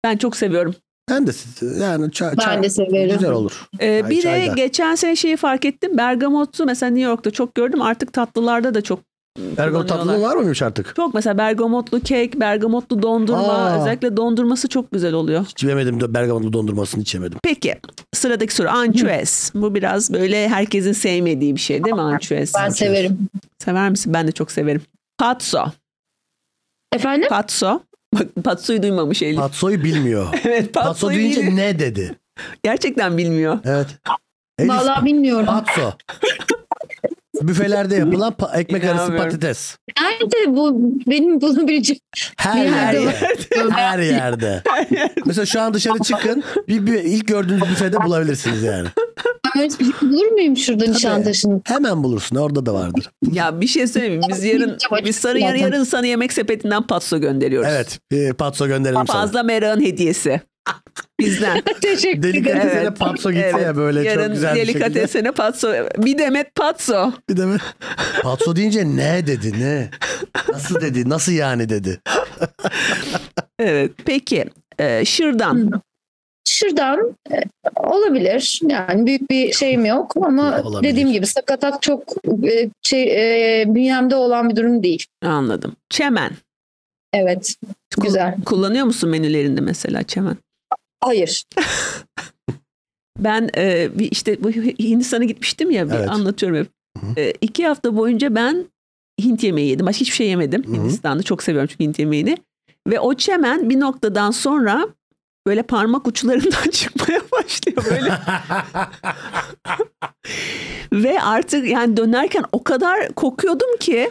Ben çok seviyorum.
Ben de siz- yani ça-
Ben
ça-
de severim.
E, güzel olur.
Ee,
Ay,
bir de
çayda.
geçen sene şeyi fark ettim. Bergamotu mesela New York'ta çok gördüm. Artık tatlılarda da çok
Ergo
kullanıyorlar.
tatlılığı var mıymış artık?
Çok mesela bergamotlu kek, bergamotlu dondurma.
Aa.
Özellikle dondurması çok güzel oluyor.
Hiç yemedim de bergamotlu dondurmasını hiç yemedim.
Peki sıradaki soru ançüez. Bu biraz böyle herkesin sevmediği bir şey değil mi ançüez?
Ben severim.
Sever misin? Ben de çok severim. Patso.
Efendim?
Patso. Bak patsoyu duymamış Elif.
Patsoyu bilmiyor.
evet
Patso
patsoyu
deyince
bilmiyor.
ne dedi?
Gerçekten bilmiyor.
Evet. Elif,
Vallahi bilmiyorum.
patso. Büfelerde yapılan pa- ekmek arası
İnanamıyorum.
patates.
Nerede bu? Benim bunu bileceğim.
Her
Bir
yerde.
yerde
Her yerde. Mesela şu an dışarı çıkın. Bir, bir ilk gördüğünüz büfede bulabilirsiniz yani.
Ben öyle bir şey bulur muyum şurada Nişantaşı'nın?
Hemen bulursun. Orada da vardır.
Ya bir şey söyleyeyim. mi? Biz yarın biz sarı yarı yarın sana yemek sepetinden patso gönderiyoruz.
Evet. Bir patso gönderelim sana.
Fazla Mera'nın hediyesi. Bizden.
Teşekkür ederim.
Delikatesene patso gitse ya böyle
yarın
çok güzel bir şekilde.
delikatesine patso. Bir demet patso.
Bir de ben- patso deyince ne dedi ne? Nasıl dedi? Nasıl yani dedi?
Evet. Peki. e, şırdan.
Şuradan e, olabilir. Yani büyük bir şeyim yok ama
Olabilir.
dediğim gibi sakatat çok e, şey, e, bünyemde olan bir durum değil.
Anladım. Çemen.
Evet.
Kul-
Güzel.
Kullanıyor musun menülerinde mesela çemen?
Hayır.
Ben e, bir işte bu Hindistan'a gitmiştim ya bir
Evet.
anlatıyorum hep.
Hı.
E, iki hafta boyunca ben Hint yemeği yedim. Başka hiçbir şey yemedim
Hı.
Hindistan'da. Çok seviyorum çünkü Hint yemeğini. Ve o çemen bir noktadan sonra böyle parmak uçlarından çıkmaya başlıyor böyle. Ve artık yani dönerken o kadar kokuyordum ki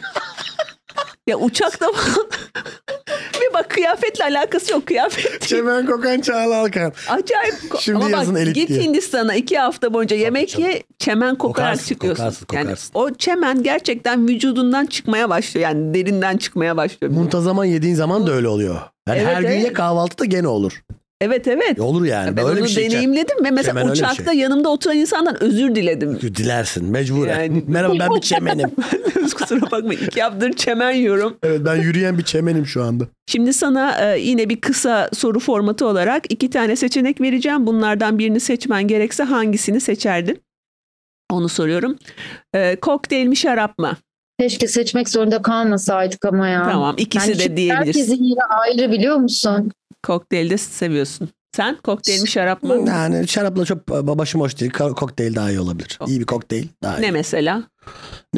ya uçakta falan ve bak kıyafetle alakası yok kıyafet değil.
Çemen kokan Çağla Alkan.
Acayip. ko-
Şimdi
Ama
yazın
bak
elit
git
diye.
Hindistan'a iki hafta boyunca yemek
canım.
ye çemen kokarak
Kokarsın,
çıkıyorsun.
kokarsın, kokarsın.
Yani o çemen gerçekten vücudundan çıkmaya başlıyor. Yani derinden çıkmaya başlıyor.
Muntazaman yediğin zaman da öyle oluyor. Yani
Evet,
her gün
evet.
ye kahvaltıda gene olur.
Evet evet.
E Olur yani.
ben
Böyle
onu
bir şey içer-
deneyimledim ve mesela
Çemen öyle bir şey.
uçakta yanımda oturan insandan özür diledim.
Dilersin mecburen.
Yani-
Merhaba ben bir çemenim.
Kusura bakmayın. İki haftadır çemen yiyorum.
evet ben yürüyen bir çemenim şu anda.
Şimdi sana e, yine bir kısa soru formatı olarak iki tane seçenek vereceğim. Bunlardan birini seçmen gerekse hangisini seçerdin? Onu soruyorum. E, kokteyl mi şarap mı?
Keşke seçmek zorunda kalmasaydık ama ya.
Tamam ikisi
Yani
de diyebilirsin.
Herkesin yeri ayrı biliyor musun?
Kokteyli de seviyorsun. Sen kokteyl mi şarap mı?
Yani şarapla çok e, başım hoş değil. Ka- Kokteyl daha iyi olabilir. İyi bir kokteyl daha iyi.
Ne
Ne,
mesela?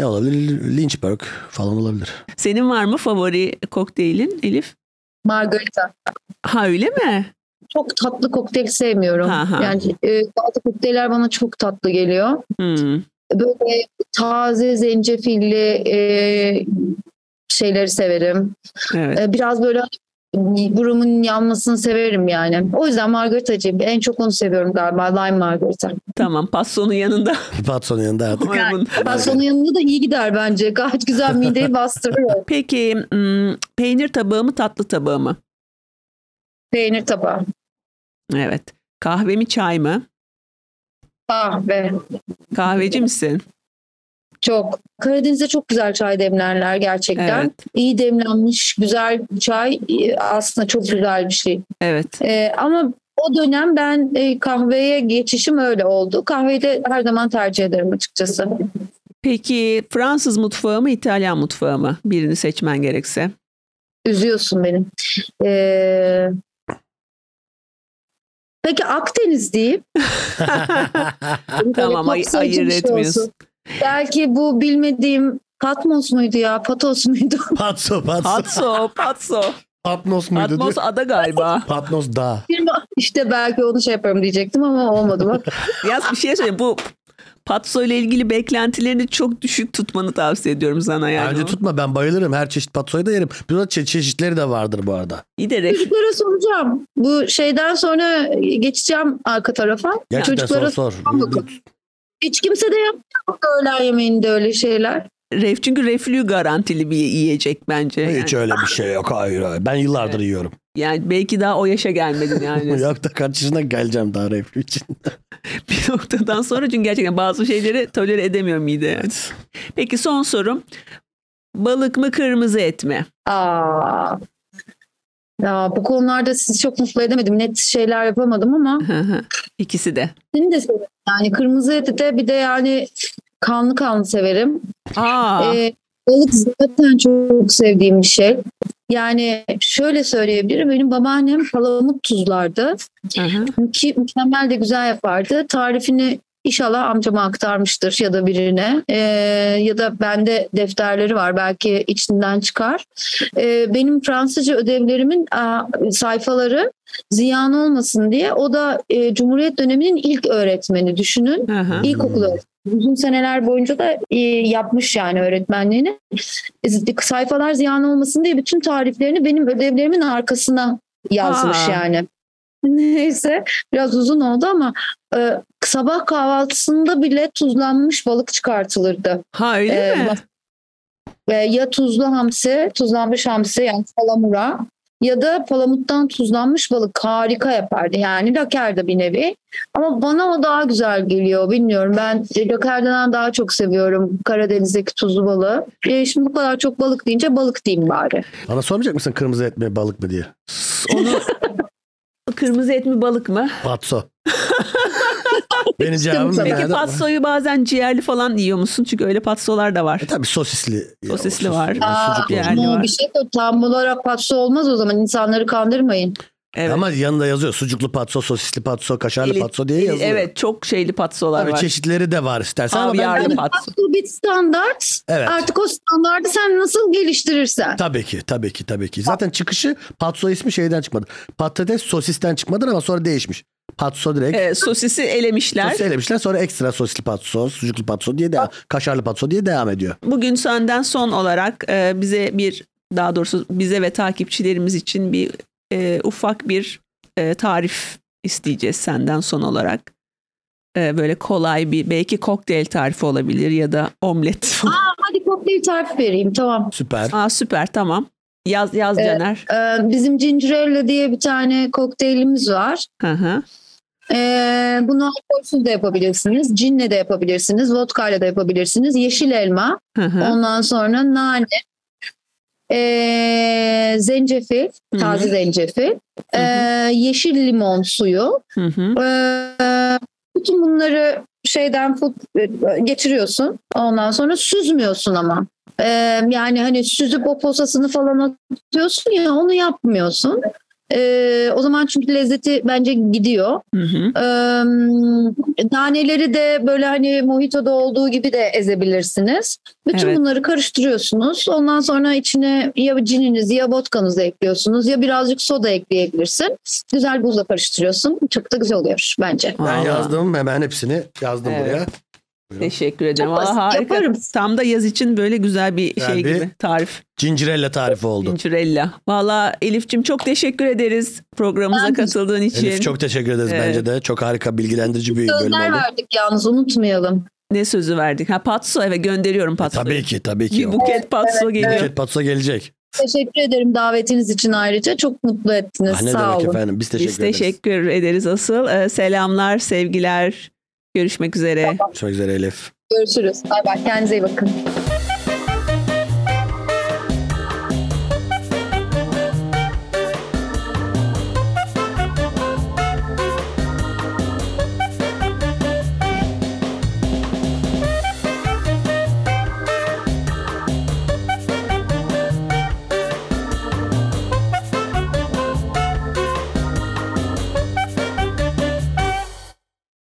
olabilir? Lynchburg falan olabilir.
Senin var mı favori kokteylin Elif?
Margarita.
Ha öyle mi?
Çok tatlı kokteyl sevmiyorum.
Ha, ha.
Yani e, bazı kokteyller bana çok tatlı geliyor.
Hmm.
Böyle taze zencefilli e, şeyleri severim.
Evet.
E, biraz böyle burumun yanmasını severim yani. O yüzden margaritacıyım. En çok onu seviyorum galiba. Lime margarita.
Tamam. Pastonun yanında.
Patronun yanında artık.
maymun.
Bastonun yanında da iyi gider bence. Gayet güzel mideyi bastırıyor.
Peki hmm, peynir tabağı mı tatlı tabağı mı?
Peynir tabağı.
Evet. Kahve mi çay mı?
Kahve.
Kahveci misin?
Çok. Karadeniz'de çok güzel çay demlerler gerçekten.
Evet.
İyi demlenmiş, güzel çay e, aslında çok güzel bir şey.
Evet.
E, ama o dönem ben e, kahveye geçişim öyle oldu. Kahveyi de her zaman tercih ederim açıkçası.
Peki Fransız mutfağı mı İtalyan mutfağı mı? Birini seçmen gerekse.
Üzüyorsun beni. E, peki Akdeniz diyeyim.
Tamam, ay-
kapsayıcı
ayırt
bir şey
etmiyorsun.
olsun. Belki bu bilmediğim Patmos muydu ya? Patos muydu?
Patso, patso.
Patso, patso.
Patnos muydu?
Patmos
Patnos,
ada galiba.
Patnos dağ.
işte belki onu şey yaparım diyecektim ama olmadı bak.
Yaz bir şey söyleyeyim. Bu patso ile ilgili beklentilerini çok düşük tutmanı tavsiye ediyorum sana yani.
Bence
O-
tutma ben bayılırım. Her çeşit patsoyu da yerim. Burada çe- çeşitleri de vardır bu arada.
İyi de ref-
Çocuklara soracağım. Bu şeyden sonra geçeceğim arka tarafa.
Gerçekten
Çocuklara
sor sor.
Tamam bakalım. hiç kimse de yapmıyor bu öğlen yemeğinde öyle şeyler.
ref çünkü reflü garantili bir yiyecek bence. Yani,
Hiç öyle bir şey yok. Hayır hayır. Ben yıllardır yiyorum.
yani belki daha o yaşa gelmedin yani.
yok da kaç yaşına geleceğim daha reflü için.
bir noktadan sonra çünkü gerçekten bazı şeyleri tolere edemiyor mide. Peki son sorum. Balık mı kırmızı et mi?
Aa. Ya bu konularda sizi çok mutlu edemedim. Net şeyler yapamadım ama
Hı hı. İkisi de.
seni de severim. Yani kırmızı eti de bir de yani kanlı kanlı severim.
Aa,
Ee, balık zaten çok sevdiğim bir şey. Yani şöyle söyleyebilirim. Benim babaannem palamut tuzlardı.
hı hı.
Ki mükemmel de güzel yapardı. Tarifini inşallah amcama aktarmıştır ya da birine. Ee, ya da bende defterleri var belki içinden çıkar. Ee, benim Fransızca ödevlerimin aa, sayfaları ziyan olmasın diye. O da e, Cumhuriyet döneminin ilk öğretmeni düşünün.
Hı hı.
İlkokul öğretmeni. Uzun seneler boyunca da e, yapmış yani öğretmenliğini. Z- Sayfalar ziyan olmasın diye bütün tariflerini benim ödevlerimin arkasına yazmış
Aa.
yani. Neyse biraz uzun oldu ama e, sabah kahvaltısında bile tuzlanmış balık çıkartılırdı.
Ha öyle
E,
mi?
bak- e, ya tuzlu hamsi, tuzlanmış hamsi yani palamura ya da palamuttan tuzlanmış balık harika yapardı. Yani lakerda bir nevi. Ama bana o daha güzel geliyor. Bilmiyorum ben e, lakerdadan daha çok seviyorum Karadeniz'deki tuzlu balığı. E, şimdi bu kadar çok balık deyince balık diyeyim bari.
Bana sormayacak mısın kırmızı et mi balık mı diye?
Onu kırmızı et mi balık mı?
Patso. Benim cevabım da
tabii.
Peki
nerede?
patsoyu bazen ciğerli falan yiyor musun? Çünkü öyle patsolar da var.
E tabii sosisli. Ya,
Sosisli
sos-
var.
sucuklu
Aa,
olacak.
yani.
Ama o
var.
bir şey de tam olarak patso olmaz o zaman insanları kandırmayın.
Evet.
Ama yanında yazıyor sucuklu patso, sosisli patso, kaşarlı
Eli-
patso diye
eli-
yazıyor.
Evet çok şeyli patsolar
Tabii
var.
çeşitleri de var istersen ama ben-
Havyarlı
Yani
patso.
Bu bir standart.
Evet.
Artık o standartı sen nasıl geliştirirsen.
Tabii ki, tabii ki, tabii ki. Zaten çıkışı patso ismi şeyden çıkmadı. Patates sosisten çıkmadı ama sonra değişmiş. Patso direkt.
Ee, sosisi elemişler.
Sosis elemişler sonra ekstra sosisli patso, sucuklu patso diye devam, kaşarlı patso diye devam ediyor.
Bugün senden son olarak e, bize bir daha doğrusu bize ve takipçilerimiz için bir e, ufak bir e, tarif isteyeceğiz senden son olarak. E, böyle kolay bir belki kokteyl tarifi olabilir ya da omlet falan.
Hadi kokteyl tarifi vereyim tamam.
Süper.
Aa süper tamam. Yaz yaz
Evet.
Caner.
Ee, bizim Cincerella diye bir tane kokteylimiz var.
Hı hı.
Ee, bunu alkolsüz de yapabilirsiniz. Cinle de yapabilirsiniz. Vodka ile de yapabilirsiniz. Yeşil elma.
Hı hı.
Ondan sonra nane. ee, zencefil.
Hı hı.
Taze zencefil.
Hı hı.
ee, yeşil limon suyu.
Hı hı.
Ee, bütün bunları şeyden fut- geçiriyorsun. Ondan sonra süzmüyorsun ama. Ee, yani hani süzüp o posasını falan atıyorsun ya onu yapmıyorsun. Ee, o zaman çünkü lezzeti bence gidiyor.
Hı hı.
Ee, naneleri de böyle hani mojito'da olduğu gibi de ezebilirsiniz. Bütün
Evet.
bunları karıştırıyorsunuz. Ondan sonra içine ya cininizi ya vodkanızı ekliyorsunuz ya birazcık soda ekleyebilirsin. Güzel buzla karıştırıyorsun. Çok da güzel oluyor bence.
Ben
Vallahi.
yazdım hemen hepsini yazdım
Evet.
buraya.
Teşekkür ederim.
Çok basit,
Valla harika.
yaparım.
Tam da yaz için böyle güzel bir
Güzel
şey
bir-
gibi tarif.
Cincirella tarifi oldu.
Pinçurella. Valla Elif'cim çok teşekkür ederiz programımıza
Ben-
katıldığın için.
Elif çok teşekkür ederiz
Evet.
bence de. Çok harika bilgilendirici bir bölüm
Sözler
oldu. E,
verdik yalnız unutmayalım.
Ne sözü verdik? Ha patso eve gönderiyorum patsoyu.
E, Tabii ki tabii ki.
Bir buket patso geliyor.
Buket Patsa gelecek.
Teşekkür ederim davetiniz için ayrıca. Çok mutlu ettiniz.
Ah, ne
Sağ
demek
olun.
efendim. Biz teşekkür
Biz
ederiz.
teşekkür ederiz asıl. Ee, selamlar, sevgiler. Görüşmek üzere.
Görüşmek üzere Elif.
Görüşürüz. Bay bay. Kendinize iyi bakın.